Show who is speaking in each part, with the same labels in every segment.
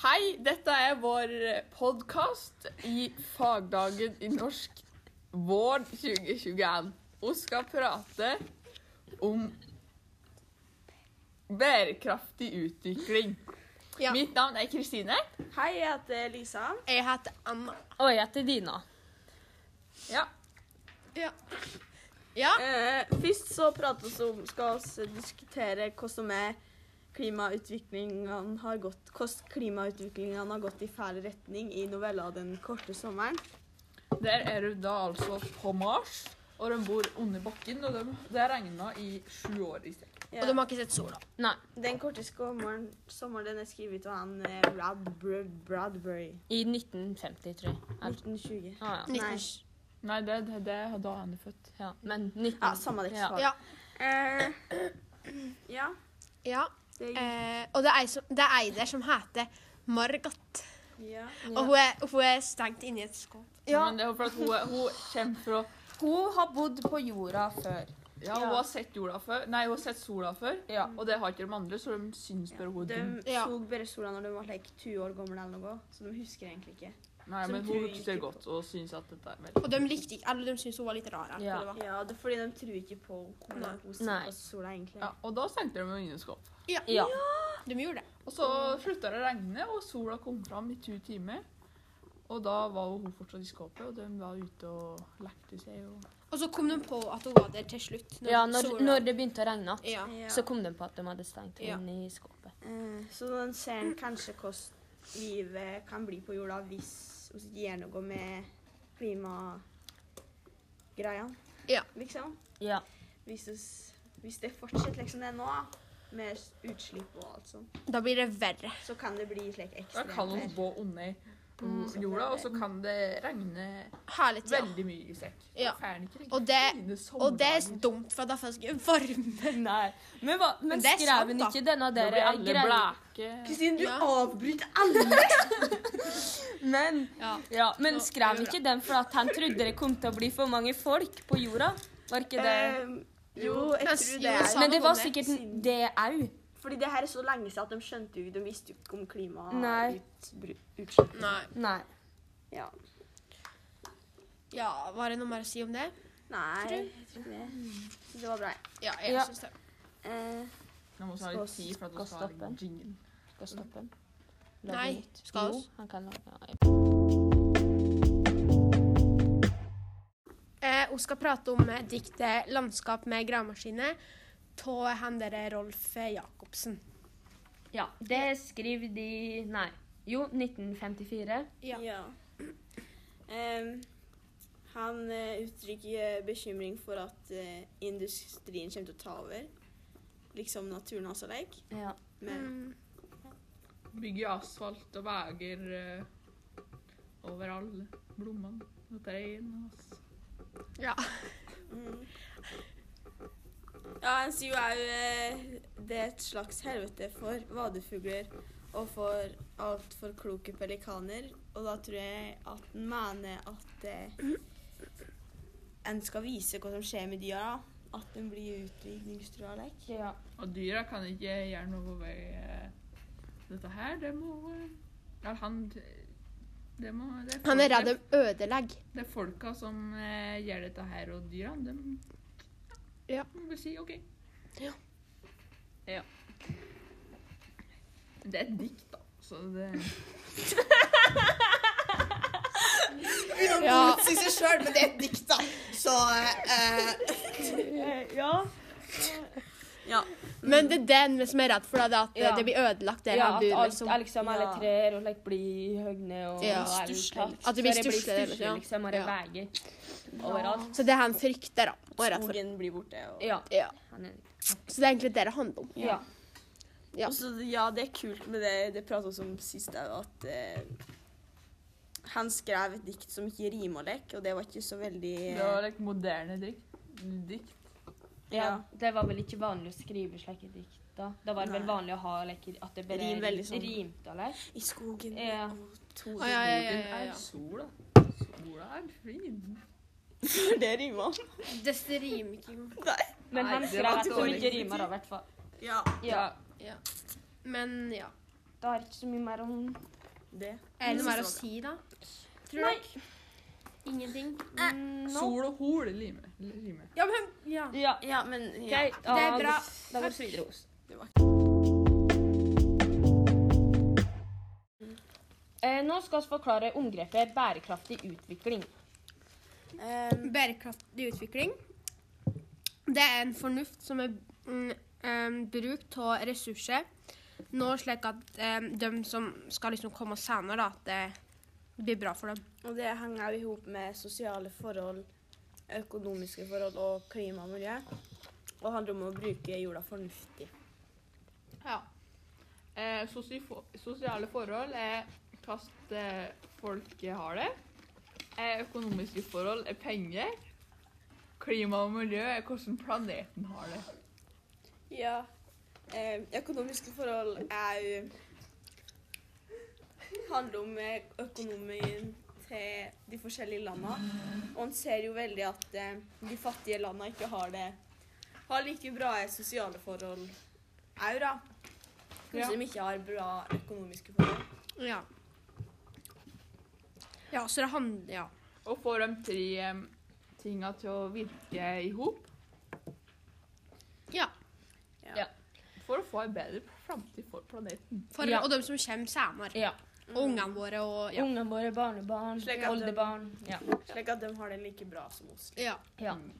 Speaker 1: Hei, dette er vår podkast i fagdagen i norsk vår 2021. Vi skal prate om bærekraftig utvikling.
Speaker 2: Ja.
Speaker 1: Mitt navn er Kristine.
Speaker 2: Hei, jeg heter Lisa. Jeg heter Anna.
Speaker 3: Og jeg heter Dina.
Speaker 1: Ja.
Speaker 2: Ja. Eh, først så prates det om skal vi diskutere hva som er klimautviklingen har gått, hvordan klimautviklingen har gått i feil retning i novella 'Den korte sommeren'.
Speaker 1: Der er du da altså på Mars, og de bor under bakken, og de, det har regna i sju år i strekk.
Speaker 2: Ja.
Speaker 3: Og de har ikke sett sola. Nei.
Speaker 2: 'Den korte sommeren', sommeren den er skrevet av han eh, Brad, Brad, Bradbury.
Speaker 3: I 1950, tror jeg. Er-
Speaker 2: 1920.
Speaker 3: Ah, ja.
Speaker 2: Nei.
Speaker 1: Nei, det det- det er da han er født.
Speaker 3: ja. Men 19...
Speaker 2: Ja, samme det.
Speaker 3: Ja.
Speaker 4: Ja.
Speaker 2: Eh, ja.
Speaker 4: Ja.
Speaker 2: Det,
Speaker 4: Eh, og det er, ei som, det er ei der som heter Margot.
Speaker 3: Eh.
Speaker 2: ja.
Speaker 4: Og hun er, hun er stengt inne i et skap.
Speaker 1: Men det er for at hun, er- hun kommer fra
Speaker 3: Hun har bodd på jorda før.
Speaker 1: Ja, hun
Speaker 2: Ja.
Speaker 1: har sett jorda før. Nei, hun har sett sola før,
Speaker 3: Ja.
Speaker 1: og det har ikke de andre, så de syns bare hun er dum.
Speaker 2: De
Speaker 4: Ja.
Speaker 2: så bare sola når de var like, 20 år gamle, eller noe, så de husker egentlig ikke.
Speaker 1: Nei,
Speaker 2: som
Speaker 1: men
Speaker 2: tror
Speaker 1: hun husker
Speaker 2: ikke
Speaker 1: godt og syns at dette er veldig
Speaker 4: Og de likte ikke Eller de syntes hun var litt rar. eller
Speaker 3: Ja.
Speaker 4: hva det var.
Speaker 2: Ja, det er fordi de tror ikke på hvordan hun
Speaker 3: Nei.
Speaker 2: på sola egentlig.
Speaker 1: ja, Og da stengte de vindueskap.
Speaker 3: Ja.
Speaker 4: De gjorde det.
Speaker 1: Og så slutta det å regne, og sola kom fram i to timer. Og da var hun fortsatt i skapet, og de var ute og lekte seg. Og...
Speaker 4: Og så kom de på at hun var der til slutt.
Speaker 3: Ja, når,
Speaker 4: sola-
Speaker 3: når det begynte å regne,
Speaker 4: ja.
Speaker 2: Ja.
Speaker 3: så kom de på at de hadde stengt
Speaker 4: Ja.
Speaker 3: inn i skåpet.
Speaker 2: Eh, så den ser en kanskje hvordan livet kan bli på jorda hvis vi ikke gjør noe med klimagreiene.
Speaker 4: Ja.
Speaker 2: Liksom.
Speaker 3: Ja.
Speaker 2: Hvis, oss- hvis det fortsetter liksom det nå, med s- utslipp og alt sånt,
Speaker 4: Da blir det verre.
Speaker 2: så kan det bli slik
Speaker 1: Da
Speaker 2: ekstremt.
Speaker 1: kan hun
Speaker 2: vær.
Speaker 1: gå under jorda, og så kan det regne
Speaker 4: Hele tida.
Speaker 1: veldig mye i sekk.
Speaker 4: Ja.
Speaker 1: Færen ikke
Speaker 4: Og det-
Speaker 1: fine
Speaker 4: Og det er
Speaker 1: sommerdager.
Speaker 4: dumt, for da får jeg ikke varme.
Speaker 3: Nei. Men, hva, men,
Speaker 4: det er
Speaker 3: skrev
Speaker 4: sant,
Speaker 3: hun
Speaker 4: da.
Speaker 3: ikke denne
Speaker 1: Da
Speaker 3: der
Speaker 1: blir alle
Speaker 3: greia-
Speaker 1: bleke.
Speaker 2: Kristine, du
Speaker 4: Ja.
Speaker 2: avbryter alle!
Speaker 3: Men,
Speaker 4: Ja.
Speaker 3: ja, men
Speaker 4: Så-
Speaker 3: skrev hun ikke den for at han trodde det kom til å bli for mange folk på jorda? Var ikke det
Speaker 2: Eh, jo, jeg
Speaker 4: Men-
Speaker 2: tror
Speaker 4: jo,
Speaker 2: det er
Speaker 4: sa-
Speaker 3: Men det
Speaker 4: noe
Speaker 3: var
Speaker 4: om det.
Speaker 3: sikkert det òg.
Speaker 2: Fordi det her er så lenge siden at de skjønte jo De visste jo ikke om
Speaker 3: Nei.
Speaker 2: klimautslipp.
Speaker 4: Nei.
Speaker 3: Nei.
Speaker 2: Ja.
Speaker 4: Ja, var det noe mer å si om det?
Speaker 2: Nei, jeg tror ikke det. Så det var bra.
Speaker 4: Ja, jeg
Speaker 3: Ja.
Speaker 4: syns det.
Speaker 2: Eh,
Speaker 1: Nå må vi ha litt tid for at hun
Speaker 3: Skal
Speaker 1: skal ha
Speaker 3: stoppe.
Speaker 1: jingle.
Speaker 3: Skal stoppe den?
Speaker 4: Nei, skal oss?
Speaker 3: han kan lage ja,
Speaker 4: Eh, hun skal prate om eh, diktet 'Landskap med gravemaskine' av han derre Rolf eh, Jacobsen.
Speaker 3: Ja, det skriver de Nei. Jo, 1954.
Speaker 4: Ja.
Speaker 2: Em, han eh, uttrykker bekymring for at eh, industrien kommer til å ta over. Liksom naturen hans og leik.
Speaker 3: Ja.
Speaker 4: Mm.
Speaker 2: Men
Speaker 1: Bygge asfalt og veier eh, over alle blommene og trærne. ass.
Speaker 4: Ja.
Speaker 2: mm. Ja, han sier jo òg eh, det er et slags helvete for vadefugler og for altfor kloke pelikaner. Og da tror jeg at han mener at eh, en skal vise hva som skjer med dyra. da. At de blir utviklingstrua og leik.
Speaker 3: ja.
Speaker 1: Og dyra kan ikke gjøre noe ved eh, dette her. Det må eh, Ja, han Det må det er
Speaker 4: Han er
Speaker 1: folk-
Speaker 4: redd de ødelegger.
Speaker 1: Det er folka som eh, gjør dette her, og dyra, dem
Speaker 4: Ja.
Speaker 1: må vi si OK.
Speaker 4: Ja.
Speaker 1: Ja. Det er et dikt, da, så det
Speaker 4: Ja.
Speaker 2: Si seg sjøl, men det er et dikt, da. Så
Speaker 3: Ja.
Speaker 2: Ja.
Speaker 4: Men det er den vi som er redd for, da, det er at eh,
Speaker 3: Ja.
Speaker 4: det blir ødelagt der han bor.
Speaker 3: at alt
Speaker 4: Liksom.
Speaker 3: er liksom alle
Speaker 2: Ja.
Speaker 3: trær og like blir høgne og
Speaker 4: Ja.
Speaker 3: og alt-
Speaker 2: Stusslig.
Speaker 4: At det blir
Speaker 3: Så
Speaker 4: stusslig,
Speaker 3: stusslig,
Speaker 4: liksom.
Speaker 3: liksom. Og det
Speaker 4: Ja.
Speaker 3: veier overalt.
Speaker 4: Så det er han frykter, da. Og er redd for.
Speaker 2: Skogen blir borte. Og...
Speaker 3: Ja.
Speaker 4: Ja.
Speaker 3: Han er,
Speaker 4: Så det er egentlig det det handler om.
Speaker 3: ja.
Speaker 4: Ja.
Speaker 2: Og så, ja, det er kult med det det pratet vi om sist òg, at eh, han skrev et dikt som ikke rimer og lek, og det var ikke så veldig eh,
Speaker 1: Det var et moderne dikt. dikt.
Speaker 3: ja.
Speaker 2: Ja.
Speaker 3: Det var vel ikke vanlig å skrive slike dikt da. Da var det vel
Speaker 2: Nei.
Speaker 3: vanlig å ha like, at det bare
Speaker 2: Rim veldig sånn.
Speaker 3: rimte og like.
Speaker 2: I skogen
Speaker 3: Ja.
Speaker 2: og to
Speaker 4: Å, ja, ja, ja,
Speaker 1: Boken
Speaker 4: ja,
Speaker 1: er
Speaker 4: ja.
Speaker 2: altså.
Speaker 1: sola. Sola er fin.
Speaker 2: Det rimer.
Speaker 4: Det rimer ikke engang.
Speaker 3: Men
Speaker 1: Nei,
Speaker 3: han
Speaker 1: det
Speaker 3: skrev
Speaker 1: var
Speaker 3: at det
Speaker 1: dårlig
Speaker 3: ikke rimer, da, i hvert fall.
Speaker 2: Ja.
Speaker 3: Ja.
Speaker 4: Men ja.
Speaker 3: Det har ikke så mye mer om
Speaker 2: det.
Speaker 4: Er det noe mer å
Speaker 2: Siste
Speaker 4: si, da? Tror dere? Ingenting? Eh,
Speaker 1: Sol og hol limer. limer.
Speaker 4: Ja, men ja.
Speaker 3: Mm, Ja.
Speaker 2: Ja, men ja.
Speaker 3: Ok,
Speaker 4: Det er
Speaker 3: da-
Speaker 4: bra.
Speaker 3: Da går vi videre hos.
Speaker 2: Det var-
Speaker 3: Eh, nå skal vi forklare omgrepet bærekraftig utvikling.
Speaker 2: Ehm,
Speaker 4: Bærekraftig utvikling. Det er en fornuft som er mm, em, bruk av ressurser. Nå slik at em, de som skal liksom komme senere, da, at det blir bra for dem.
Speaker 2: og det henger jo i hop med sosiale forhold, økonomiske forhold og klima og miljø. Og handler om å bruke jorda fornuftig.
Speaker 1: Ja. Eh, sosi sosiale forhold er hvordan eh, folk har det. Eh, økonomiske forhold er penger. Klima og miljø er hvordan planeten har det.
Speaker 2: Ja. Eh, økonomiske forhold er jo handler om eh, økonomien til de forskjellige landene. Og en ser jo veldig at eh, de fattige landene ikke har det har like bra sosiale forhold òg, da. Kanskje
Speaker 1: Ja.
Speaker 2: de ikke har bra økonomiske forhold.
Speaker 4: Ja. Ja, så det handler Ja.
Speaker 1: Og får de tre eh, tinga til å virke i hop
Speaker 4: ja.
Speaker 1: for å få en bedre framtid for planeten.
Speaker 4: For,
Speaker 3: Ja.
Speaker 4: Og de som kommer senere.
Speaker 3: Ja.
Speaker 4: Og ungene våre og ja.
Speaker 3: Ungene våre, barnebarn,
Speaker 2: Slik at-
Speaker 3: oldebarn. Ja.
Speaker 2: Slik at de har det like bra som oss.
Speaker 4: ja.
Speaker 3: Ja.
Speaker 1: Mm.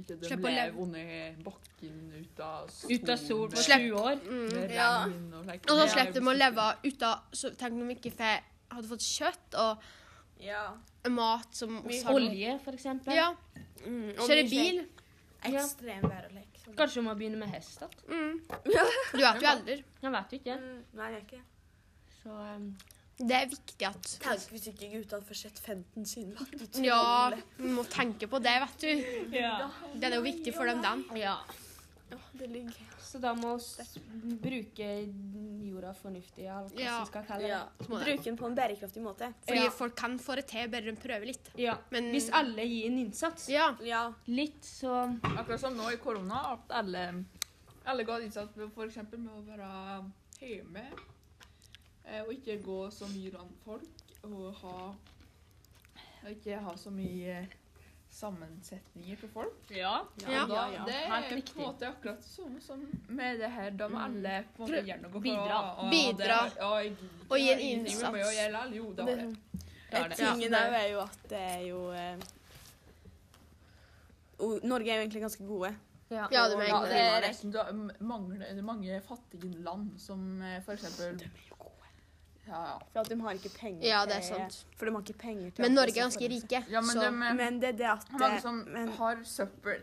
Speaker 1: Ikke de
Speaker 4: Slipp å
Speaker 1: lever
Speaker 4: leve.
Speaker 1: under bakken ut av solen.
Speaker 3: Ut av sol på
Speaker 4: Slipp.
Speaker 3: 20 år.
Speaker 4: Mm.
Speaker 1: Med
Speaker 2: Ja.
Speaker 1: regn og slikt.
Speaker 4: Og så
Speaker 1: Det er
Speaker 4: slipper de å
Speaker 1: jo-
Speaker 4: leve ute av så Tenk om vi ikke fe- hadde fått kjøtt og
Speaker 2: Ja.
Speaker 4: mat som
Speaker 2: Mye
Speaker 4: har-
Speaker 3: Olje, for eksempel.
Speaker 4: Ja.
Speaker 2: Mm, og
Speaker 4: Kjøre
Speaker 2: mye
Speaker 4: bil.
Speaker 3: Ja.
Speaker 2: Ekstremvær og lek.
Speaker 3: Kanskje vi må begynne med hest. da.
Speaker 4: Mm. Du vet jo aldri.
Speaker 3: Jeg vet jo ikke.
Speaker 2: Mm, Nei, jeg er ikke
Speaker 3: Så um,
Speaker 4: Det er viktig at
Speaker 2: Tenk hvis ikke gutta får sett 15 siden. da.
Speaker 4: Ja, vi må tenke på det, vet du.
Speaker 3: ja.
Speaker 4: Den er jo viktig for dem, den.
Speaker 2: Åh, det ligger
Speaker 3: Så da må vi bruke jorda fornuftig, eller hva
Speaker 4: Ja.
Speaker 3: vi skal kalle det.
Speaker 2: Ja.
Speaker 4: Små, ja.
Speaker 2: Bruke den på en bærekraftig måte.
Speaker 4: Fordi
Speaker 3: Ja.
Speaker 4: folk kan få det til, bare de prøver litt.
Speaker 3: Ja.
Speaker 4: Men-
Speaker 3: Hvis alle gir en innsats
Speaker 4: Ja.
Speaker 2: Ja.
Speaker 3: litt, så
Speaker 1: Akkurat som nå i korona, at alle, alle ga innsats med for eksempel med å være hjemme eh, og ikke gå så mye blant folk og ha og ikke ha så mye eh, sammensetninger for folk.
Speaker 3: Ja.
Speaker 4: Ja.
Speaker 1: Og da,
Speaker 2: ja.
Speaker 1: Det
Speaker 3: Helt
Speaker 1: er
Speaker 3: riktig.
Speaker 1: på en måte akkurat det samme som med det her. Da må alle på en måte
Speaker 4: Prøv-
Speaker 1: gjøre noe. for å-
Speaker 3: bidra.
Speaker 1: å-
Speaker 4: Bidra.
Speaker 1: det er- å, jeg gidder
Speaker 4: Og gi en
Speaker 1: ingenting med
Speaker 4: innsats.
Speaker 1: meg å gjøre, eller? Jo, da var det. Da er
Speaker 2: Et
Speaker 1: det.
Speaker 4: Ja.
Speaker 2: tingen der er jo at det er jo eh, o- Norge er jo egentlig ganske gode.
Speaker 4: Ja, du
Speaker 1: Og
Speaker 4: mener
Speaker 1: ja,
Speaker 4: det.
Speaker 1: det er resten av mange, mange fattige land, som eh, for eksempel ja, ja.
Speaker 2: For at de har ikke penger
Speaker 4: Ja, det er
Speaker 2: til-
Speaker 4: sant.
Speaker 2: For de har ikke penger til
Speaker 4: Men
Speaker 2: at
Speaker 4: Norge
Speaker 2: de
Speaker 4: er
Speaker 2: skal
Speaker 4: ganske
Speaker 2: forholde seg.
Speaker 4: rike,
Speaker 1: ja, men
Speaker 4: så
Speaker 1: de, eh,
Speaker 2: Men det er det at
Speaker 1: Det er mange som
Speaker 2: men,
Speaker 1: har sånn søppel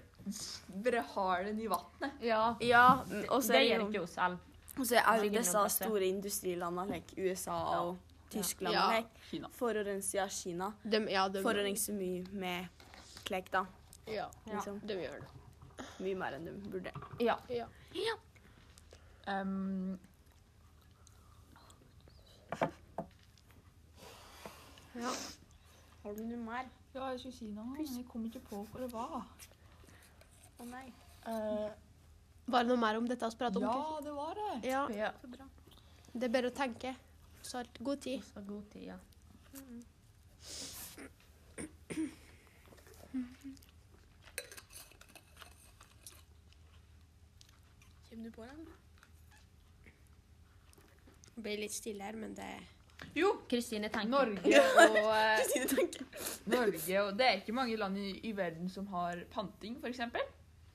Speaker 1: bare har den i vannet.
Speaker 3: Ja.
Speaker 2: Ja, men- og så
Speaker 3: det
Speaker 2: er det
Speaker 3: gjør
Speaker 2: jo
Speaker 3: ikke oss alle.
Speaker 2: Og så er jo
Speaker 3: Norge
Speaker 2: disse
Speaker 3: noen plasser.
Speaker 2: store industrilandene, like USA og Tyskland,
Speaker 4: Ja.
Speaker 2: og like,
Speaker 1: Kina.
Speaker 2: forurenser av Kina.
Speaker 4: de, ja, de,
Speaker 2: Forurenser mye med klekk, da.
Speaker 4: Ja,
Speaker 3: Ja.
Speaker 2: Liksom.
Speaker 4: de gjør det.
Speaker 2: Mye mer enn de burde.
Speaker 3: Ja.
Speaker 4: Ja.
Speaker 1: Em,
Speaker 4: Ja.
Speaker 2: Har du noe mer?
Speaker 1: ja, jeg skulle si noe, men jeg kom ikke på hvor det var. Eh,
Speaker 2: Å nei.
Speaker 4: Var det noe mer om dette vi pratet om?
Speaker 1: Ja,
Speaker 4: Kristin?
Speaker 1: det var det.
Speaker 4: Ja.
Speaker 3: ja.
Speaker 4: Det er bare å tenke. Så har god tid.
Speaker 3: Så god tid, ja.
Speaker 2: Kommer du på den?
Speaker 4: Det blir litt stille her, men det
Speaker 1: Jo,
Speaker 3: Kristine tenker
Speaker 1: Norge og eh,
Speaker 2: Sine tanker.
Speaker 1: Norge og Det er ikke mange land i, i verden som har panting, f.eks.
Speaker 2: Nei.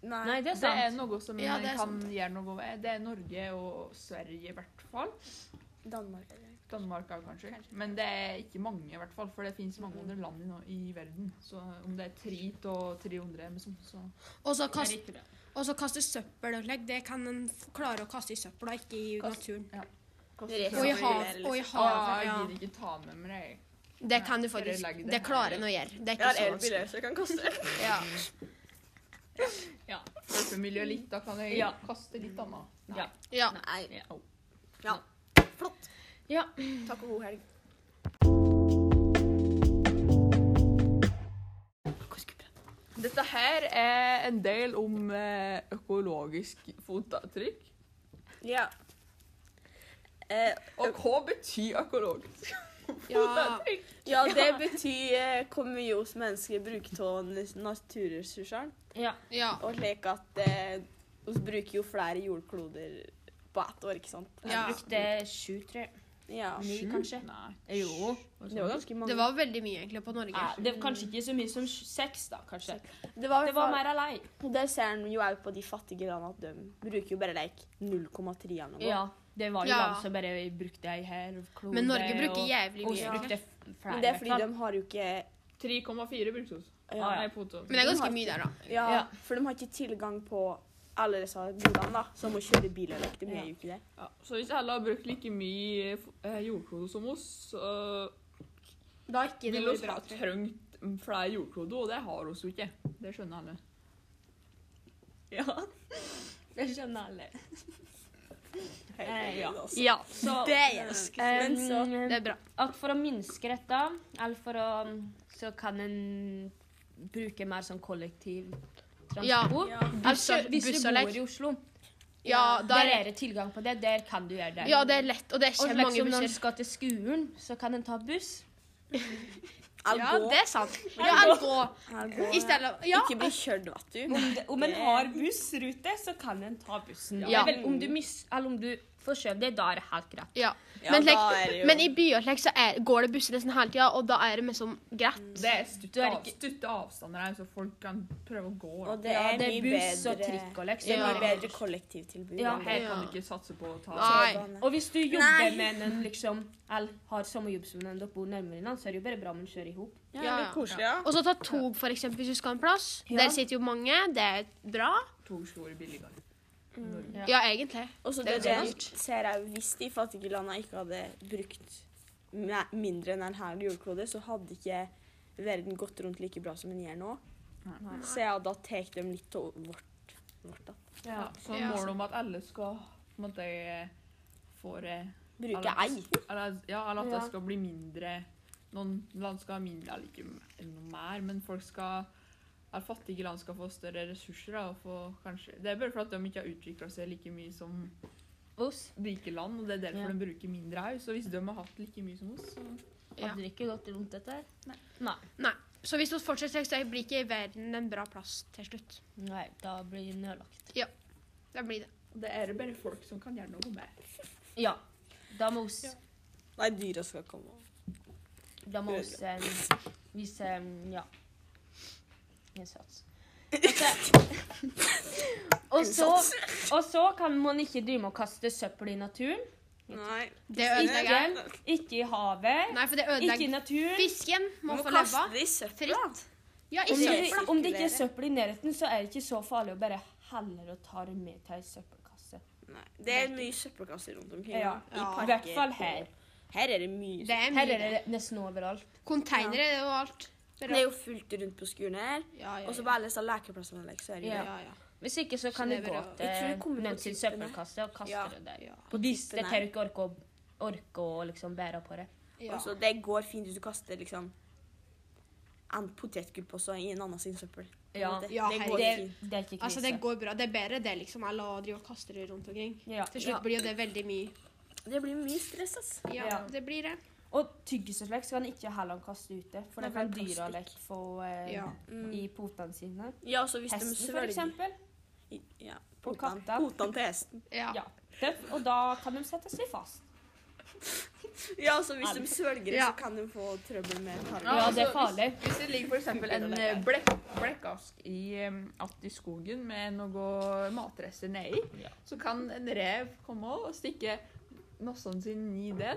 Speaker 3: Nei, det er
Speaker 1: Det er
Speaker 3: sant.
Speaker 1: noe som
Speaker 4: Ja,
Speaker 1: en
Speaker 4: det er
Speaker 1: kan
Speaker 4: sant.
Speaker 1: gjøre noe med. Det er Norge og Sverige i hvert fall.
Speaker 2: Danmark er det.
Speaker 1: Danmark også, kanskje. Men det er ikke mange, i hvert fall. For det finnes mange andre land i, no- i verden. Så om det er tre til 300 eller sånn, så
Speaker 4: Og så
Speaker 3: Det er
Speaker 4: kast,
Speaker 3: ikke bra.
Speaker 4: og så kaste søppel og slik. Det kan en f- klare å kaste i søpla, ikke i
Speaker 1: Kast-
Speaker 4: naturen.
Speaker 2: Rett
Speaker 4: Og i
Speaker 2: over
Speaker 4: hav.
Speaker 2: der,
Speaker 4: Og i
Speaker 2: liksom.
Speaker 1: Ah,
Speaker 4: havet,
Speaker 1: jeg
Speaker 4: ja.
Speaker 1: gidder ikke ta med meg det.
Speaker 4: Det kan du
Speaker 1: Bare
Speaker 4: faktisk.
Speaker 1: legg det
Speaker 4: Det
Speaker 1: her.
Speaker 4: klarer en å gjøre. Det er
Speaker 2: Jeg
Speaker 4: ikke sånn.
Speaker 2: har
Speaker 4: så
Speaker 2: elbil,
Speaker 4: vanskelig.
Speaker 2: så jeg kan kaste.
Speaker 4: Ja.
Speaker 1: Hjelpemiljø litt, da kan jeg
Speaker 3: Ja.
Speaker 1: kaste litt annet.
Speaker 3: Ja.
Speaker 4: ja.
Speaker 2: Nei.
Speaker 3: Ja.
Speaker 2: Ja. Flott.
Speaker 3: Ja.
Speaker 2: Takk og god helg.
Speaker 1: Dette her er en del om eh, økologisk fotavtrykk.
Speaker 2: Ja. Eh,
Speaker 1: Og hva betyr økologisk?
Speaker 4: Ja.
Speaker 2: Ja, det betyr eh, hvor mye oss mennesker bruker av naturressursene.
Speaker 3: Ja.
Speaker 4: Ja.
Speaker 2: Og slik at eh, oss bruker jo flere jordkloder på ett år, ikke sant?
Speaker 4: Ja.
Speaker 3: Jeg brukte sju, tror jeg.
Speaker 2: Ja.
Speaker 3: Ni,
Speaker 1: Sju?
Speaker 3: kanskje.
Speaker 1: Nei.
Speaker 3: Jo.
Speaker 1: Var
Speaker 2: Det var ganske mange.
Speaker 4: Det var veldig mye egentlig på Norge.
Speaker 3: Ja, det var kanskje ikke så mye som sj- seks, da, kanskje.
Speaker 2: det var, i
Speaker 3: Det
Speaker 2: hvert
Speaker 3: var
Speaker 2: fall-
Speaker 3: mer alene.
Speaker 2: Der ser en jo òg på de fattige landene at de bruker jo bare like 0,3 eller noe.
Speaker 3: Ja, det var jo
Speaker 4: Ja.
Speaker 3: land som bare brukte ei her klode
Speaker 4: Men Norge bruker
Speaker 3: og-
Speaker 4: jævlig
Speaker 3: og
Speaker 4: mye.
Speaker 3: så brukte f- flere.
Speaker 2: Men det er fordi de
Speaker 3: hvertfall.
Speaker 2: har jo ikke
Speaker 1: 3,4 bruktos.
Speaker 2: ja,
Speaker 3: Ah, ja.
Speaker 1: Nei, potos.
Speaker 4: Men det er ganske mye der, da.
Speaker 2: ja,
Speaker 3: Ja.
Speaker 2: For de har ikke tilgang på alle disse godene, da. Som å kjøre bil eller like. De
Speaker 3: Ja.
Speaker 2: gjør jo ikke det.
Speaker 1: Ja, så hvis alle har brukt like mye eh, jordklode som oss, så
Speaker 4: Da ikke
Speaker 1: vil oss ha trengt flere jordkloder, og det har oss jo ikke. Det skjønner alle.
Speaker 3: Ja. Det skjønner alle. Eh, ja.
Speaker 2: altså.
Speaker 3: Ja, så
Speaker 2: Det er jeg skuffet, men så
Speaker 4: Det er bra.
Speaker 3: at for å minske dette, eller for å um, Så kan en bruke mer sånn kollektiv
Speaker 4: Ja. altså,
Speaker 3: transport.
Speaker 2: ja.
Speaker 3: Hvis,
Speaker 4: Busser-
Speaker 3: hvis du
Speaker 4: busser, like.
Speaker 3: bor i Oslo,
Speaker 4: Ja,
Speaker 3: der
Speaker 4: der,
Speaker 3: er det tilgang på det. Der kan du gjøre det.
Speaker 4: ja, det er lett, og det er
Speaker 3: og
Speaker 4: kjempemange
Speaker 3: liksom når en
Speaker 4: busser.
Speaker 3: skal til skolen, så kan en ta buss.
Speaker 2: I'll
Speaker 4: Ja,
Speaker 2: go.
Speaker 4: det er sant. Ja, jeg går
Speaker 2: I'll go.
Speaker 4: i stedet. Ja.
Speaker 2: Ikke bli kjørt, vet du.
Speaker 3: Om, det- om en
Speaker 2: Det-
Speaker 3: har bussrute, så kan en ta bussen.
Speaker 4: Ja.
Speaker 3: Det er vel, om du mis, eller om du forskjøv det, da er det helt greit.
Speaker 4: Ja.
Speaker 2: Ja,
Speaker 4: Men,
Speaker 2: da
Speaker 4: like,
Speaker 2: er det jo-
Speaker 4: men i byer like, så er, går det busser nesten hele tida, og da er det mest sånn greit.
Speaker 1: Det er
Speaker 3: Du
Speaker 1: stutte,
Speaker 3: er
Speaker 1: av,
Speaker 3: ikke-
Speaker 1: stutte avstander her, så folk kan prøve å gå. da.
Speaker 2: Og det er,
Speaker 3: ja, det er
Speaker 2: mye
Speaker 3: buss og
Speaker 2: bedre-
Speaker 3: trikk og liksom.
Speaker 2: Det er mye
Speaker 4: Ja.
Speaker 2: bedre kollektivtilbud.
Speaker 3: Ja.
Speaker 2: enn det.
Speaker 1: Her kan du ikke satse på å ta
Speaker 4: Nei.
Speaker 2: T-bane.
Speaker 3: Og hvis du jobber
Speaker 2: Nei.
Speaker 3: med en liksom, eller har samme jobb som en dere bor nærmere innan, så er det jo bare bra om en kjører i hop.
Speaker 2: Ja,
Speaker 4: Ja,
Speaker 2: det
Speaker 4: ja.
Speaker 2: er koselig, ja.
Speaker 4: Og så ta tog, for eksempel, hvis du skal en plass.
Speaker 3: Ja.
Speaker 4: Der sitter jo mange. Det er bra.
Speaker 1: togskjorter billigere.
Speaker 3: Ja.
Speaker 4: Ja, egentlig.
Speaker 2: Og så
Speaker 4: Det er
Speaker 2: det,
Speaker 4: jo
Speaker 2: det
Speaker 4: dyrt.
Speaker 2: ser jeg hvis de fattige landene ikke hadde brukt me- mindre enn en her jordklode, så hadde ikke verden gått rundt like bra som den gjør nå.
Speaker 1: Nei.
Speaker 2: Så ja, da tar de litt av vårt. vårt da.
Speaker 3: Ja.
Speaker 1: Så
Speaker 4: Ja.
Speaker 1: målet om at alle skal på en måte få eh,
Speaker 2: Bruke
Speaker 1: Alle-
Speaker 2: ei.
Speaker 1: Eller, ja, eller at det
Speaker 3: Ja.
Speaker 1: skal bli mindre Noen land skal ha mindre eller ikke m- noe mer, men folk skal eller fattige land skal få større ressurser. Da, og få, kanskje, det er bare for at de ikke har utvikla seg like mye som
Speaker 3: Oss
Speaker 1: rike land. og Det er derfor
Speaker 3: Ja.
Speaker 1: de bruker mindre her. Så hvis de har hatt like mye som oss, så
Speaker 4: Ja.
Speaker 3: hadde det ikke gått rundt dette her. Nei. Nei.
Speaker 4: Så hvis vi fortsetter, så blir ikke verden en bra plass til slutt.
Speaker 3: da blir det nedlagt.
Speaker 4: Det blir det.
Speaker 1: det er det bare folk som kan gjøre noe med.
Speaker 3: Ja. Da må oss,
Speaker 1: Ja.
Speaker 2: Nei, dyra skal komme.
Speaker 3: da må oss eh, vise eh, ja. innsats. Og så, og så kan man ikke drive med å kaste søppel i naturen.
Speaker 2: Nei.
Speaker 4: Det
Speaker 3: Ikke,
Speaker 4: ødelegger.
Speaker 3: ikke i havet.
Speaker 4: Nei, for det
Speaker 3: Ikke i
Speaker 4: ødelegger
Speaker 3: naturen.
Speaker 4: Fisken må
Speaker 2: Man
Speaker 4: få
Speaker 2: må
Speaker 4: leve.
Speaker 2: kaste det i søpla.
Speaker 4: Fritt. Ja, i
Speaker 3: Om
Speaker 4: søpla.
Speaker 3: det, om det ikke er søppel i nærheten, så er det ikke så farlig å bare heller å ta det med til ei søppelkasse.
Speaker 2: Nei. Det er mye søppelkasser rundt omkring.
Speaker 3: Ja,
Speaker 2: I
Speaker 4: Ja.
Speaker 3: I
Speaker 2: parker.
Speaker 3: hvert fall her.
Speaker 2: Her er det mye.
Speaker 4: Det er
Speaker 3: Her
Speaker 4: mye.
Speaker 3: er det nesten overalt.
Speaker 4: Konteinere og alt.
Speaker 2: Det er jo fullt rundt på skolen her.
Speaker 4: Ja, ja,
Speaker 2: Og så på alle disse lekeplassene. Like, så er det jo
Speaker 3: Ja.
Speaker 4: ja, ja.
Speaker 3: Hvis ikke så kan
Speaker 4: Så det
Speaker 3: det
Speaker 4: er
Speaker 3: gå
Speaker 4: bra.
Speaker 2: Jeg tror det
Speaker 3: til
Speaker 2: kommer på
Speaker 3: noen sin
Speaker 2: tippene.
Speaker 3: søppelkasse og kaste
Speaker 2: Ja.
Speaker 3: det der.
Speaker 4: Ja.
Speaker 3: Hvis det
Speaker 2: tippene.
Speaker 3: tar ikke orke å, orke å liksom bære på det.
Speaker 4: Ja.
Speaker 2: Altså, det går fint hvis du kaster liksom en potetgullpose i en annen sin søppel.
Speaker 3: Ja.
Speaker 2: det,
Speaker 4: Ja,
Speaker 2: det
Speaker 4: herregud.
Speaker 2: går
Speaker 3: Det,
Speaker 2: fint.
Speaker 3: det er ikke krise.
Speaker 4: Altså, det går bra. Det er bedre det liksom, enn å drive og kaste det rundt omkring.
Speaker 3: ja.
Speaker 4: Til slutt blir jo det veldig mye.
Speaker 2: Det blir mye stress, ass.
Speaker 4: Ja,
Speaker 3: Ja.
Speaker 4: det blir det.
Speaker 3: Og tyggis og slik skal en ikke heller kaste ute, for
Speaker 2: Nei,
Speaker 3: det
Speaker 2: for
Speaker 3: kan
Speaker 2: det er
Speaker 3: dyra
Speaker 2: plastikk.
Speaker 3: lett få eh,
Speaker 4: Ja.
Speaker 3: i potene sine.
Speaker 2: Mm. Ja, også hvis
Speaker 3: Hesten,
Speaker 2: de
Speaker 3: for
Speaker 2: svelger
Speaker 3: eksempel.
Speaker 2: i- Ja,
Speaker 3: Og
Speaker 2: potene
Speaker 3: katta.
Speaker 2: potene til hesten.
Speaker 4: Ja.
Speaker 3: Ja. Tøff, Og da kan de sette seg fast.
Speaker 2: Ja, altså hvis de svelger det,
Speaker 4: Ja.
Speaker 2: så kan de få trøbbel med tarmen.
Speaker 3: Ja, det er
Speaker 1: altså,
Speaker 3: farlig.
Speaker 1: Hvis det ligger f.eks. en eh, blekk, blekkask i, em, att i skogen med noe matrester nedi,
Speaker 3: Ja.
Speaker 1: så kan en rev komme og stikke nossen sin i den,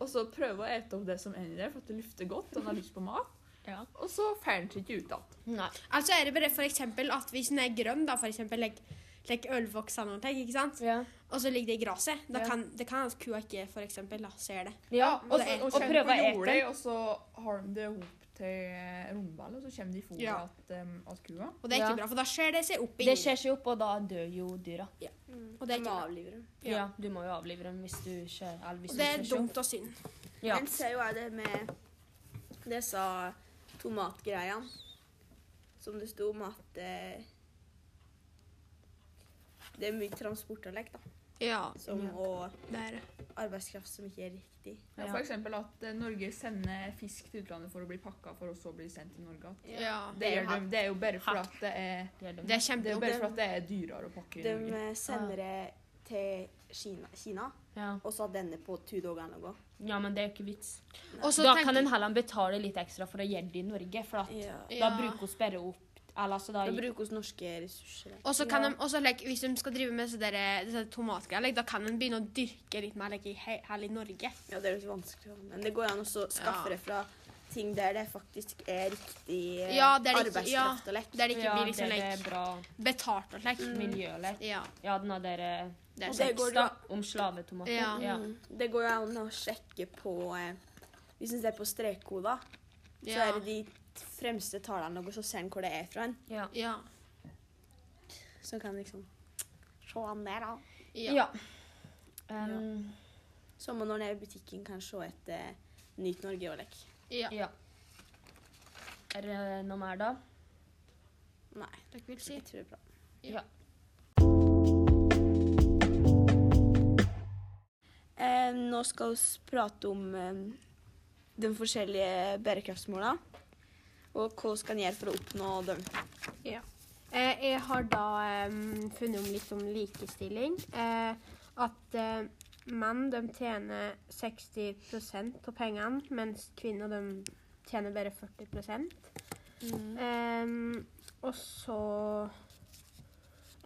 Speaker 1: og så prøve å ete opp det som er i der, for at det lukter godt, og den har lyst på mat,
Speaker 3: Ja.
Speaker 1: og så får den seg ikke ut igjen.
Speaker 3: Nei.
Speaker 4: Altså er det bare for eksempel at hvis den er grønn, da for eksempel legg legg ølvoks eller noe, ikke sant?
Speaker 3: Ja.
Speaker 4: Og så ligger det i graset. Da
Speaker 3: Ja.
Speaker 4: kan, det kan at kua ikke for eksempel da, ser det.
Speaker 3: Ja,
Speaker 4: og
Speaker 1: Og,
Speaker 4: det er-
Speaker 1: så- og,
Speaker 3: og prøve
Speaker 1: prøve
Speaker 3: å ete
Speaker 1: å ete
Speaker 3: den.
Speaker 1: den. Og så har de det opp til romballet, og så kommer de i fôret
Speaker 4: Ja.
Speaker 1: at, em, at kua.
Speaker 4: Og det er ikke
Speaker 3: Ja.
Speaker 4: bra, for da skjer det seg opp i
Speaker 3: Det skjer seg opp, og da dør jo dyra.
Speaker 4: Og det er ikke bra.
Speaker 2: avliver dem.
Speaker 4: Ja.
Speaker 3: Ja. Du må jo avlive dem hvis du kjører eller hvis
Speaker 4: Og
Speaker 3: du
Speaker 4: det er
Speaker 3: kjører
Speaker 4: dumt og synd.
Speaker 3: sjø. Ja.
Speaker 2: En ser jo er det med disse tomatgreiene som det sto om at eh, det er mye transport og lek, da.
Speaker 4: Ja,
Speaker 2: som, og
Speaker 4: det er det.
Speaker 2: arbeidskraft som ikke er riktig.
Speaker 1: Ja, for eksempel at eh, Norge sender fisk til utlandet for å bli pakka, for å så bli sendt til Norge. At
Speaker 4: Ja.
Speaker 1: Det,
Speaker 2: er
Speaker 1: gjør de, det er jo bare for at det er,
Speaker 3: Det er
Speaker 4: Det
Speaker 1: det
Speaker 4: er
Speaker 3: dumt.
Speaker 1: er jo
Speaker 4: kjempedumt.
Speaker 1: bare for at det er dyrere å pakke i
Speaker 2: De
Speaker 1: Norge.
Speaker 2: eh, sender det til Kina, Kina
Speaker 3: Ja.
Speaker 2: og så denne på to dager å gå.
Speaker 3: ja, men det er jo ikke vits.
Speaker 4: Og så
Speaker 3: da
Speaker 4: tenker-
Speaker 3: kan en heller betale litt ekstra for å gjøre det i Norge, for at
Speaker 2: Ja.
Speaker 3: da
Speaker 4: Ja.
Speaker 3: bruker vi bare opp Eller altså, da
Speaker 2: Da bruker vi norske ressurser.
Speaker 4: Og så kan
Speaker 3: Ja.
Speaker 4: de, og så, like, Hvis de skal drive med så dere- disse tomatgreiene, like, da kan de begynne å dyrke litt mer like, i he- her i Norge.
Speaker 2: Ja, det er litt vanskelig, altså. men det går an å så skaffe
Speaker 4: Ja.
Speaker 2: det fra ting der det faktisk er riktig eh,
Speaker 4: Ja, der det ikke- ja.
Speaker 2: arbeidskraft og lekk.
Speaker 4: Der det ikke
Speaker 3: ja,
Speaker 4: blir liksom,
Speaker 3: det er
Speaker 4: like,
Speaker 3: bra Mm.
Speaker 4: betalt og slik.
Speaker 3: miljølek.
Speaker 4: Ja,
Speaker 3: Ja, den har dere
Speaker 4: det er
Speaker 2: Og
Speaker 4: sant.
Speaker 2: det- går
Speaker 3: tekst da, om slavetomater.
Speaker 4: Ja.
Speaker 3: Ja.
Speaker 2: Mm. Det går jo an å sjekke på eh, Hvis en ser på strekkoder, så
Speaker 4: Ja.
Speaker 2: er det de fremste tallene, og så ser en hvor det er fra. en.
Speaker 3: Ja.
Speaker 4: Ja.
Speaker 2: Så en kan liksom se an der, da.
Speaker 4: Ja.
Speaker 3: Ja. Um,
Speaker 2: Som når en er i butikken, kan se etter eh, Nyt Norge og lekk.
Speaker 4: ja.
Speaker 3: ja. Er det noe mer, da?
Speaker 2: Nei,
Speaker 4: Dere vil si?
Speaker 2: jeg tror det er bra.
Speaker 3: Ja.
Speaker 2: Eh, nå skal vi prate om eh, de forskjellige bærekraftsmålene. Og hva vi kan gjøre for å oppnå dem.
Speaker 4: Ja. Eh, jeg har da em, funnet om litt om likestilling. Eh, at eh, menn de tjener 60 av pengene, mens kvinner de tjener bare 40 Mm. Em, Og så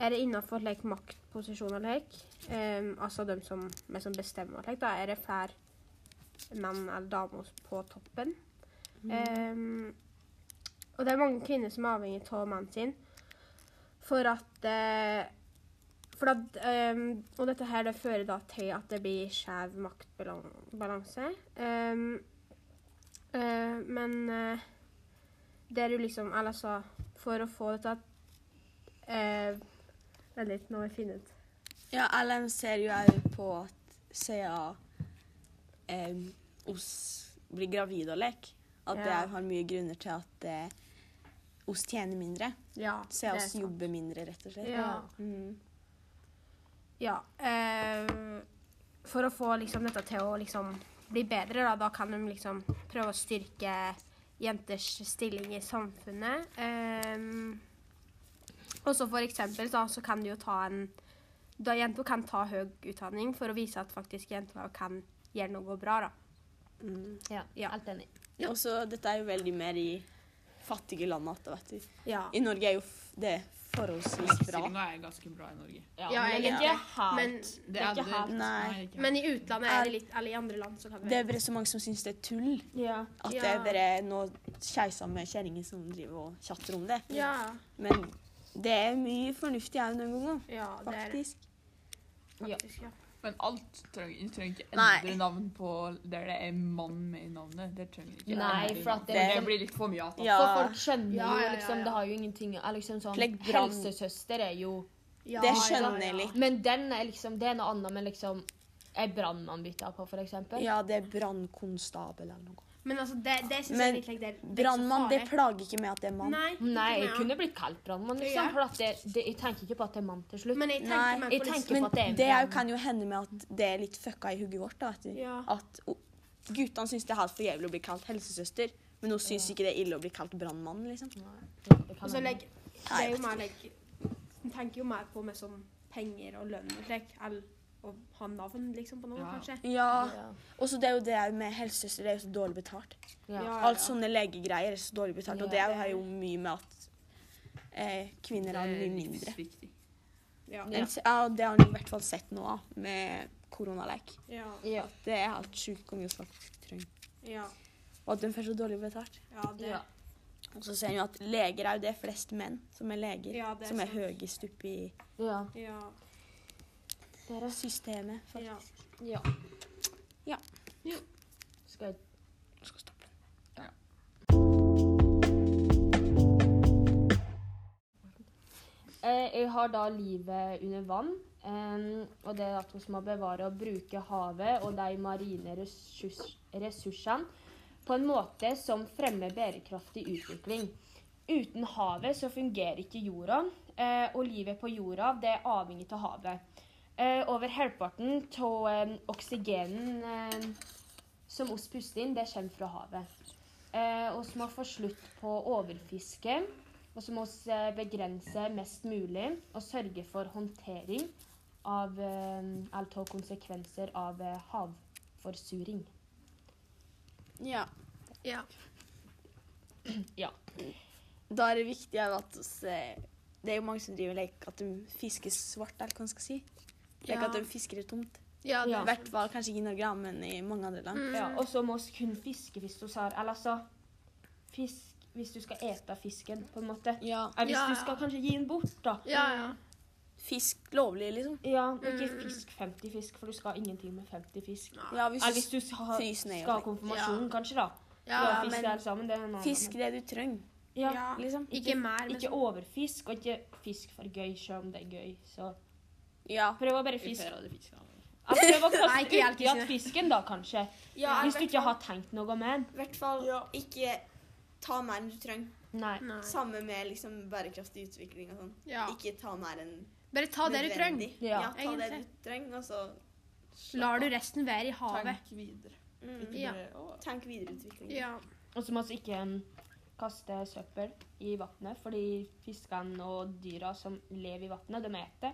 Speaker 4: er det innafor like, maktposisjoner like, em, altså de som, men som bestemmer, like, da er det flere menn eller damer på toppen. Em, og det er mange kvinner som er avhengig av mannen sin for at eh, for at, ehm, Og dette her det fører da til at det blir skjev maktbalanse. Ehm, eh, men eh, det er jo liksom Eller altså, for å få dette eh, Vent litt, nå må jeg finne ut.
Speaker 2: Ja, LM ser jo òg på at siden eh, oss blir gravide og lek, at det
Speaker 4: Ja.
Speaker 2: òg har mye grunner til at eh, oss tjener mindre.
Speaker 4: Ja, det
Speaker 2: Siden
Speaker 4: er
Speaker 2: oss
Speaker 4: sant.
Speaker 2: jobber mindre, rett og slett.
Speaker 4: Ja.
Speaker 2: Mm.
Speaker 4: Ja. eh, for å få liksom, dette til å liksom, bli bedre, da, da kan de liksom prøve å styrke jenters stilling i samfunnet. Um, og så for eksempel da, så kan du jo ta en da Jenter kan ta høy utdanning for å vise at faktisk jenter kan gjøre noe bra. da.
Speaker 2: Mm.
Speaker 3: Ja.
Speaker 4: Ja.
Speaker 3: Helt enig.
Speaker 2: Og så dette er jo veldig mer i fattige land at, vet du.
Speaker 4: Ja.
Speaker 2: I Norge er jo f det forholdsvis bra.
Speaker 1: Likestillinga er ganske bra i Norge.
Speaker 3: Ja,
Speaker 4: Ja,
Speaker 3: men
Speaker 4: egentlig,
Speaker 3: det
Speaker 1: Det er
Speaker 4: Men,
Speaker 3: er ikke helt ikke helt-
Speaker 1: det-
Speaker 2: Nei.
Speaker 1: ikke helt.
Speaker 4: men i utlandet er det litt, eller i andre land så kan
Speaker 2: Det
Speaker 4: det
Speaker 2: er bare så mange som syns det er tull.
Speaker 3: ja.
Speaker 2: At
Speaker 4: Ja.
Speaker 2: det er bare noen keiser med kjerringer som driver og tjatter om det.
Speaker 4: Ja,
Speaker 2: Men det er mye fornuftig òg noen ganger,
Speaker 4: ja, det er det.
Speaker 2: faktisk.
Speaker 4: faktisk. Ja.
Speaker 1: Men alt trenger, vi trenger ikke
Speaker 2: Nei.
Speaker 1: endre navn på der det er mann med i navnet. Det trenger vi ikke.
Speaker 3: Nei,
Speaker 1: endre i
Speaker 3: for at
Speaker 1: navn.
Speaker 3: det-
Speaker 1: det, blir litt for mye. At,
Speaker 2: Ja.
Speaker 3: For folk skjønner
Speaker 4: Ja, ja,
Speaker 3: jo
Speaker 4: ja,
Speaker 3: liksom
Speaker 4: ja.
Speaker 3: Det har jo ingenting eller liksom sånn
Speaker 2: Like brann-
Speaker 3: Helsesøster er jo
Speaker 4: Ja,
Speaker 2: Det
Speaker 4: ja, ja.
Speaker 2: skjønner jeg litt.
Speaker 3: Men den er liksom Det er noe annet med liksom ei brannmann bytta på, for eksempel.
Speaker 2: Ja, det er brannkonstabel eller noe.
Speaker 4: Men altså, det, det synes jeg
Speaker 2: Men
Speaker 4: litt like, det, er- det er
Speaker 2: Brannmann, det
Speaker 4: ikke så farlig.
Speaker 2: plager ikke med at det er mann.
Speaker 4: Nei,
Speaker 3: Nei,
Speaker 4: ikke
Speaker 3: jeg
Speaker 4: meg,
Speaker 3: kunne blitt kalt brannmann,
Speaker 4: Ja.
Speaker 3: liksom. For at det, det, jeg tenker ikke på at det er mann til
Speaker 4: ja.
Speaker 3: slutt.
Speaker 4: Men jeg tenker
Speaker 2: Nei,
Speaker 4: meg
Speaker 3: jeg
Speaker 4: på liksom-
Speaker 3: tenker-
Speaker 2: Men
Speaker 3: på at det er en
Speaker 2: det er jo-
Speaker 3: brann.
Speaker 2: kan jo hende med at det er litt fucka i hugget vårt. da, vet du.
Speaker 4: Ja.
Speaker 2: At o- Guttene syns det er helt for jævlig å bli kalt helsesøster, men hun syns ikke det er ille å bli kalt brannmann. Liksom.
Speaker 3: Det kan
Speaker 4: Og så
Speaker 3: hende.
Speaker 4: altså, legg- det er jo mer like, jeg tenker jo mer på meg som penger og lønn og slik, eller å ha navn liksom på noe,
Speaker 1: Ja.
Speaker 4: kanskje.
Speaker 2: Ja.
Speaker 3: ja.
Speaker 2: Og så det er jo det her med helsesøster, det er jo så dårlig betalt.
Speaker 3: Ja.
Speaker 4: Ja,
Speaker 2: Alt sånne legegreier er så dårlig betalt, og det
Speaker 3: Ja.
Speaker 2: har jo mye med at eh, kvinner har mye mindre.
Speaker 1: livsviktig.
Speaker 4: Ja.
Speaker 2: Men s- Ja, og det har en i hvert fall sett nå, da, med koronaleik.
Speaker 4: Ja.
Speaker 3: Ja.
Speaker 2: Det er helt sjukt hvor mye vi faktisk trenger.
Speaker 4: Ja.
Speaker 2: Og at de får så dårlig betalt.
Speaker 4: Ja, det.
Speaker 3: Ja.
Speaker 2: Og så ser en jo at leger er jo det flest menn som er leger.
Speaker 4: Ja, det er
Speaker 2: som er
Speaker 4: sant.
Speaker 2: høyest oppe i
Speaker 3: Ja.
Speaker 4: Ja.
Speaker 3: Det er det.
Speaker 2: systemet. faktisk.
Speaker 4: Ja.
Speaker 3: Ja.
Speaker 2: Ja.
Speaker 3: Ja. Skal jeg
Speaker 2: Skal stoppe.
Speaker 3: Eh, Jeg har da livet under vann. em, og det er at vi må bevare og bruke havet og de marine ressurs ressursene på en måte som fremmer bærekraftig utvikling. Uten havet så fungerer ikke jorda, eh, og livet på jorda det er avhengig av havet. Eh, Eh, over halvparten av eh, oksygenen eh, som oss puster inn, det kommer fra havet. Eh, oss må få slutt på overfiske, og så må oss eh, begrense mest mulig og sørge for håndtering av eh, alt av konsekvenser av eh, havforsuring.
Speaker 2: Ja.
Speaker 4: Ja.
Speaker 2: Da er det viktig at oss, eh, Det er jo mange som driver leker at de fisker svart, eller hva man skal si. Leker
Speaker 4: Ja.
Speaker 2: at de fisker i tomt.
Speaker 4: Ja,
Speaker 3: Ja.
Speaker 2: I hvert fall kanskje ikke i Norge, da, men i mange andre land.
Speaker 4: Mm.
Speaker 3: Ja, og så må oss kun fiske hvis du har Eller altså Fisk hvis du skal ete fisken, på en måte.
Speaker 2: Ja.
Speaker 3: Eller hvis
Speaker 4: Ja,
Speaker 3: du
Speaker 4: ja.
Speaker 3: skal kanskje gi den bort, da.
Speaker 4: ja, ja.
Speaker 2: Fisk lovlig, liksom.
Speaker 3: Ja, og ikke
Speaker 4: Mm.
Speaker 3: fisk 50 fisk, for du skal ha ingenting med 50 fisk.
Speaker 2: Ja,
Speaker 3: Eller
Speaker 2: hvis
Speaker 3: hvis
Speaker 2: du
Speaker 3: du skal,
Speaker 2: fryser ned,
Speaker 3: skal ha
Speaker 2: ja.
Speaker 3: konfirmasjon, kanskje, da.
Speaker 4: ja,
Speaker 3: Ja,
Speaker 2: men-
Speaker 3: fisk det alle sammen, det er en annen-
Speaker 2: fisker det du trenger,
Speaker 3: Ja.
Speaker 4: ja.
Speaker 2: liksom.
Speaker 4: Ikke mer, men
Speaker 3: Ikke overfisk, og ikke fisk for gøy, selv om det er gøy. Så
Speaker 2: Ja.
Speaker 3: prøv å bare
Speaker 1: Hvis
Speaker 3: fiske.
Speaker 1: jeg hadde fiska den.
Speaker 3: Altså, prøv å
Speaker 4: Nei,
Speaker 3: kaste
Speaker 4: ikke helt
Speaker 3: uti at
Speaker 4: fiske.
Speaker 3: fisken, da, kanskje.
Speaker 2: Ja,
Speaker 3: Hvis du ikke har tenkt noe med den.
Speaker 2: I hvert fall ikke ta mer enn du trenger.
Speaker 3: Nei.
Speaker 4: Nei.
Speaker 2: Samme med liksom bærekraftig utvikling og sånn.
Speaker 4: Ja.
Speaker 2: Ikke ta mer enn
Speaker 4: Bare ta det du trenger.
Speaker 2: nødvendig.
Speaker 3: Ja.
Speaker 2: Ja, ta det
Speaker 4: Egentlig.
Speaker 2: du trenger, og så
Speaker 4: Lar du resten være i havet.
Speaker 1: Tenk videre.
Speaker 2: mm,
Speaker 1: Ikke
Speaker 4: Ja.
Speaker 1: bare, å,
Speaker 2: Tenk videreutvikling.
Speaker 4: Ja.
Speaker 3: Og så må vi ikke mm, kaste søppel i vannet, fordi fiskene og dyra som lever i vannet, de eter.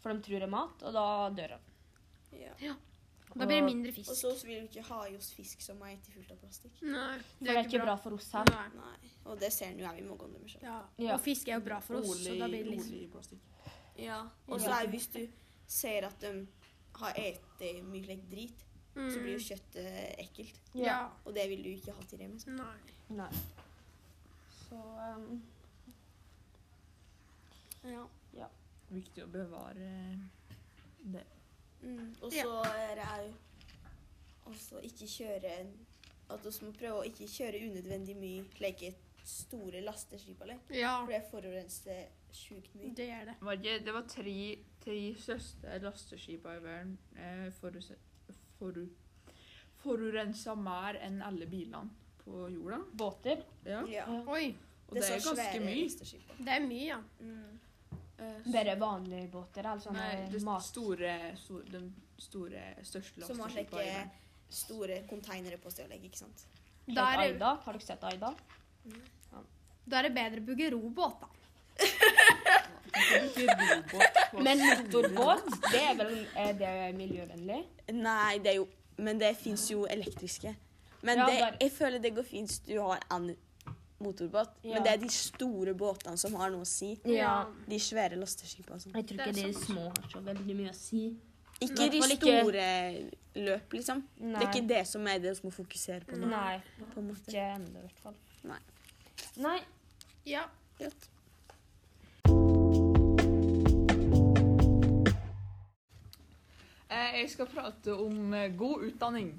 Speaker 3: For de tror det er mat, og da dør de.
Speaker 2: Ja.
Speaker 4: Da blir det
Speaker 3: Og-
Speaker 4: mindre
Speaker 2: Og
Speaker 4: fisk.
Speaker 2: så vil vi ikke ha i oss fisk som er ikke fullt av plastikk.
Speaker 4: Nei,
Speaker 3: For det er ikke bra for oss her.
Speaker 4: Nei.
Speaker 2: Nei, Og det ser en jo her i morgen deres
Speaker 4: Ja.
Speaker 3: Ja.
Speaker 4: Og fisk er jo bra for oss, så
Speaker 1: rolig-
Speaker 4: da blir det liksom
Speaker 1: rolig plastikk.
Speaker 2: Ja. Og så er jo hvis du ser at de har ete mye like, drit, så blir jo
Speaker 4: mm.
Speaker 2: kjøttet ekkelt.
Speaker 4: Ja.
Speaker 2: Og det vil du ikke ha til Remi.
Speaker 4: Nei.
Speaker 3: Nei. Så um,
Speaker 2: Ja.
Speaker 1: Viktig å bevare det.
Speaker 2: Mm. Og
Speaker 4: Ja.
Speaker 2: så er det jo også ikke kjøre At vi må prøve å ikke kjøre unødvendig mye like store lasteskip eller
Speaker 4: Ja,
Speaker 2: For det forurenser sjukt mye.
Speaker 4: det gjør det.
Speaker 1: Var ikke, det var tre, tre største lasteskipa i verden eh, forus- foru, forurensa mer enn alle bilene på jorda.
Speaker 3: båter.
Speaker 1: Ja.
Speaker 2: Ja.
Speaker 4: Oi,
Speaker 1: Og det, er
Speaker 2: så
Speaker 1: ganske
Speaker 2: svære
Speaker 1: mye.
Speaker 2: lasteskip.
Speaker 4: det er mye, ja.
Speaker 2: Mm.
Speaker 1: Eh,
Speaker 3: Bare vanlige båter. Altså
Speaker 1: Nei,
Speaker 3: sånne
Speaker 1: det
Speaker 3: mat.
Speaker 1: store, store, de store, største
Speaker 2: Som har
Speaker 1: lasteskipa i
Speaker 2: slike-
Speaker 1: verden.
Speaker 2: Store konteinere på stølegg, ikke sant.
Speaker 4: Da er, det-
Speaker 3: Aida. Har dere sett Aida?
Speaker 4: da er det bedre å bygge robåt, da.
Speaker 1: Ikke robåt på
Speaker 3: Men
Speaker 1: store-
Speaker 3: motorbåt, det er vel er det miljøvennlig?
Speaker 2: Nei, det er jo Men det fins jo elektriske. Men
Speaker 3: Ja,
Speaker 2: det,
Speaker 3: bare-
Speaker 2: jeg føler det går fint hvis du har en motorbåt.
Speaker 3: Ja.
Speaker 2: Men det er de store båtene som har noe å si.
Speaker 3: Ja.
Speaker 2: De svære lasteskipene. og sånn.
Speaker 3: Jeg tror
Speaker 4: Det er
Speaker 3: ikke de
Speaker 4: sant.
Speaker 3: små har så veldig mye å si.
Speaker 2: Ikke de
Speaker 3: Hvertfall ikke-
Speaker 2: store løp, liksom. Det
Speaker 3: Nei.
Speaker 2: er ikke det som er det vi må fokusere på nå.
Speaker 3: Nei.
Speaker 2: På en måte.
Speaker 3: Ikke ennå, i hvert fall.
Speaker 2: Nei.
Speaker 3: Nei.
Speaker 4: Ja.
Speaker 2: Greit.
Speaker 1: Eh, jeg skal prate om eh, god utdanning.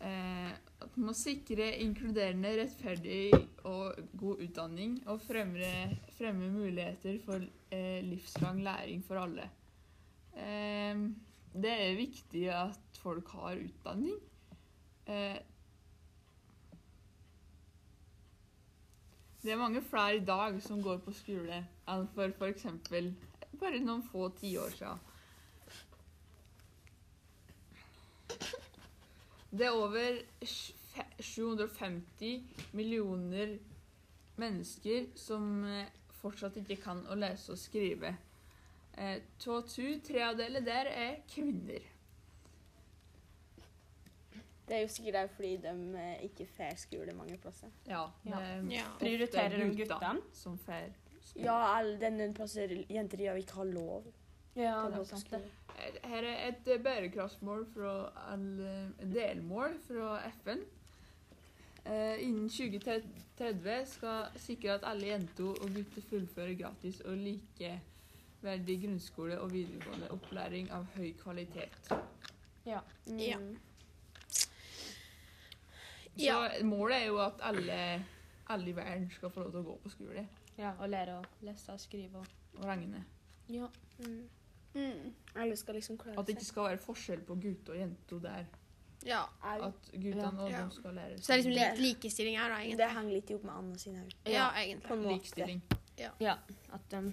Speaker 1: Eh, at man må sikre inkluderende, rettferdig og god utdanning. Og fremme, fremme muligheter for eh, livslang læring for alle. Eh, det er viktig at folk har utdanning. Eh, det er mange flere i dag som går på skole enn for f.eks. bare noen få tiår siden. Det er over sj- fe- 750 millioner mennesker som eh, fortsatt ikke kan å lese og skrive. Eh, Tå tu, tre av dere der er kvinner.
Speaker 2: Det er jo sikkert det er fordi de eh, ikke får skole mange plasser.
Speaker 1: Ja.
Speaker 3: Ja.
Speaker 1: det er
Speaker 4: Ja.
Speaker 1: ofte
Speaker 3: Prioriterer de guttene?
Speaker 1: Som fer.
Speaker 2: Ja, alle denne plasser jenter gjør ikke har lov.
Speaker 3: Ja,
Speaker 2: til å gå på skole.
Speaker 1: Her- Her er et eh, bærekraftsmål fra alle- delmål fra FN. Eh, innen 2030 skal sikre at alle jenter og gutter fullfører gratis og likeverdig grunnskole og videregående opplæring av høy kvalitet.
Speaker 2: Mm.
Speaker 4: Ja.
Speaker 1: Så målet er jo at alle, alle i verden skal få lov til å gå på skole
Speaker 3: Ja, og lære å lese og skrive og
Speaker 1: og regne.
Speaker 3: Ja.
Speaker 2: Mm. Mm. Alle skal liksom klare
Speaker 1: At det ikke skal være forskjell på gutter og jenter der.
Speaker 4: ja.
Speaker 2: Au.
Speaker 1: At guttene og
Speaker 4: Ja.
Speaker 1: de skal lære
Speaker 4: Så det er liksom
Speaker 1: sammen.
Speaker 4: litt likestilling her, da,
Speaker 2: Det
Speaker 4: egentlig.
Speaker 2: henger litt opp med Anna sin her.
Speaker 4: Ja, egentlig.
Speaker 2: På en måte.
Speaker 1: Likstilling.
Speaker 3: ja. At um,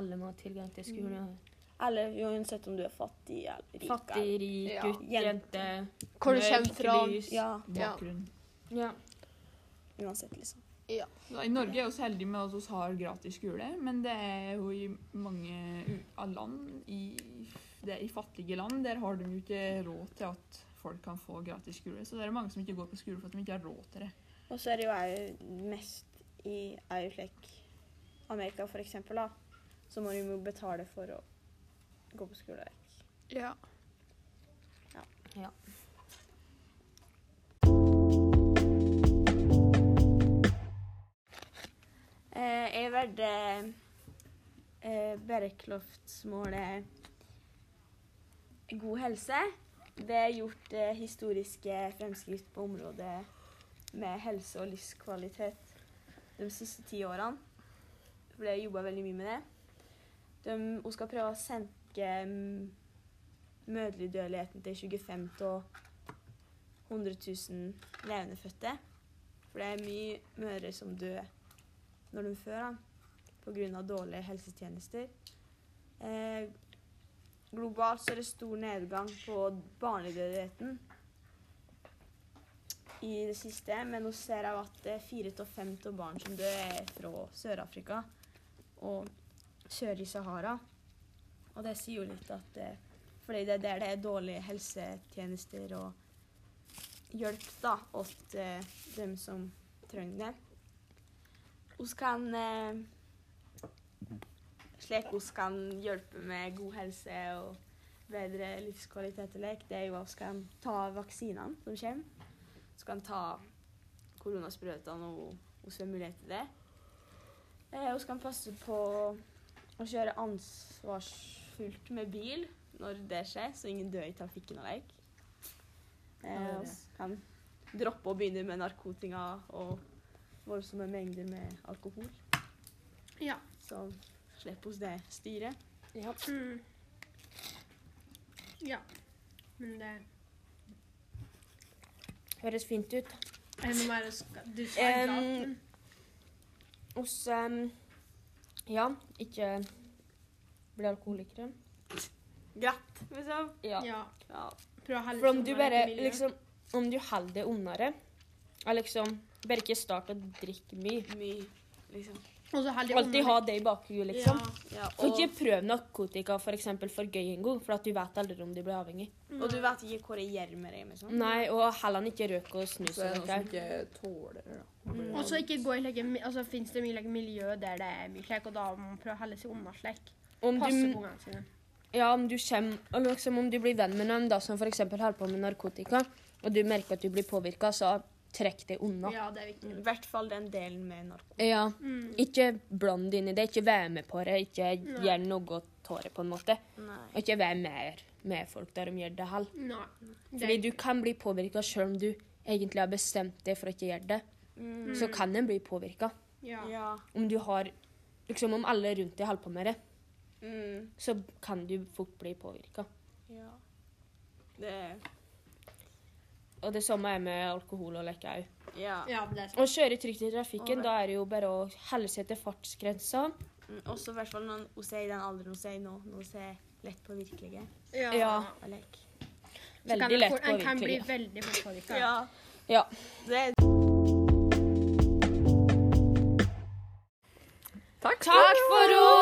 Speaker 3: alle må ha tilgang til skole. og
Speaker 2: Eller uansett om du er fattig eller rik.
Speaker 3: Fattig, rik,
Speaker 1: Ja.
Speaker 3: gutt, jente.
Speaker 2: Jente.
Speaker 4: Hvor du
Speaker 3: mørk,
Speaker 4: kommer fra.
Speaker 3: lys.
Speaker 2: eller- Ja,
Speaker 5: Ja.
Speaker 1: Bakgrunn.
Speaker 3: Ja.
Speaker 2: uansett, liksom.
Speaker 1: Ja, I Norge er vi så heldige med at vi har gratis skole, men det er jo i mange u- av land i, det er i fattige land, der har de jo ikke råd til at folk kan få gratis skole. Så det er mange som ikke går på skole for at de ikke har råd til det.
Speaker 2: Og så er det jo jeg mest i er jo slik Amerika, for eksempel, da. Så må du jo betale for å gå på skole.
Speaker 4: Ja.
Speaker 2: Eh, jeg valgte eh, bærekraftsmålet god helse. Det er gjort eh, historiske fremskritt på området med helse og livskvalitet de siste ti årene. For det er jobba veldig mye med det. De, hun skal prøve å senke mm, mødredødeligheten til 25 av 100 000 levendefødte. For det er mye mødre som dør når de før, da, pga. dårlige helsetjenester. Eh, globalt så er det stor nedgang på barnedødeligheten i det siste, men nå ser jeg jo at det er fire til fem til barn som dør, er fra Sør-Afrika og sør i Sahara. Og det sier jo litt at eh, fordi det er der det er dårlige helsetjenester og hjelp da, åt eh, dem som trenger det. Hun kan eh, Slik hun kan hjelpe med god helse og bedre livskvalitet til lek, det er jo at hun kan ta vaksinene som kommer. Hun kan ta koronasprøytene og hun får mulighet til det. Eh, hun kan passe på å kjøre ansvarsfullt med bil når det skjer, så ingen dør i trafikken av lek. Eh, hun kan droppe å begynne med narkotika og voldsomme mengder med alkohol.
Speaker 4: Ja.
Speaker 2: Så slipp oss det styret.
Speaker 3: ja.
Speaker 4: Mm. ja. Men det
Speaker 3: Høres fint ut.
Speaker 4: Er det noe mer du skal Du skal ha
Speaker 3: Em,
Speaker 4: graten?
Speaker 3: Oss em, Ja, ikke bli alkoholikere.
Speaker 2: Glatt, liksom.
Speaker 3: Ja.
Speaker 4: Ja.
Speaker 2: Ja.
Speaker 4: Prøv å holde
Speaker 3: For om
Speaker 4: seg
Speaker 3: du
Speaker 4: unna
Speaker 3: bare
Speaker 4: dette miljøet.
Speaker 3: liksom Om du holder det unna det er liksom Bare ikke start å drikke mye.
Speaker 2: Mye, liksom.
Speaker 4: Og så holde
Speaker 3: Alltid
Speaker 4: unna-
Speaker 3: ha det i bakhuet, liksom.
Speaker 4: Ja.
Speaker 2: Ja,
Speaker 3: Så
Speaker 2: og,
Speaker 3: ikke prøv narkotika for, eksempel, for gøy en gang, for at du vet aldri om du blir avhengig.
Speaker 2: og du vet ikke hvor det gjør med deg, liksom.
Speaker 3: Nei, og heller ikke røk og snus.
Speaker 1: Så er det noen
Speaker 3: og
Speaker 1: som
Speaker 3: dette.
Speaker 1: ikke tåler det. da.
Speaker 3: Mm.
Speaker 4: Og så ikke gå i like, mi- altså, finnes det mye like, miljø der det er mye slik, og da må man prøve å holde seg unna slik.
Speaker 3: Om
Speaker 4: Passe
Speaker 3: du,
Speaker 4: på ungene sine.
Speaker 3: ja, om, du kjem, og liksom, om du blir venn med noen da, som f.eks. holder på med narkotika, og du merker at du blir påvirka, så trekk det unna.
Speaker 4: Ja, det er viktig.
Speaker 2: I hvert fall den delen med narko.
Speaker 3: Ja.
Speaker 4: Mm.
Speaker 3: Ikke bland inn i det, ikke vær med på det, ikke gjør noe av det, på en måte.
Speaker 2: Nei.
Speaker 3: Og ikke vær mer med folk der de gjør det heller.
Speaker 4: Nei. Det
Speaker 3: Fordi
Speaker 4: er-
Speaker 3: du kan bli påvirka sjøl om du egentlig har bestemt deg for å ikke gjøre det.
Speaker 2: Mm.
Speaker 3: Så kan en bli påvirka.
Speaker 4: Ja.
Speaker 2: Ja.
Speaker 3: Om du har Liksom om alle rundt deg holder på med det,
Speaker 2: Mm.
Speaker 3: så kan du fort bli påvirka.
Speaker 2: ja. Det
Speaker 3: Og det samme er med alkohol og leker òg.
Speaker 2: Ja.
Speaker 4: ja, det er sånn. sant.
Speaker 3: Å kjøre trygt i trafikken,
Speaker 2: Alright.
Speaker 3: da er det jo bare å holde seg til fartsgrensa.
Speaker 2: Mm. Også i hvert fall når hun ser i den alderen hun ser i nå. Når hun ser lett på virkelige
Speaker 3: Ja.
Speaker 2: av lek.
Speaker 4: Så kan
Speaker 3: Veldig
Speaker 4: man-
Speaker 3: lett
Speaker 4: En kan bli
Speaker 3: påvirkelig.
Speaker 4: veldig fort påvirket.
Speaker 2: Ja.
Speaker 3: Ja.
Speaker 2: Det er
Speaker 3: Takk for oss!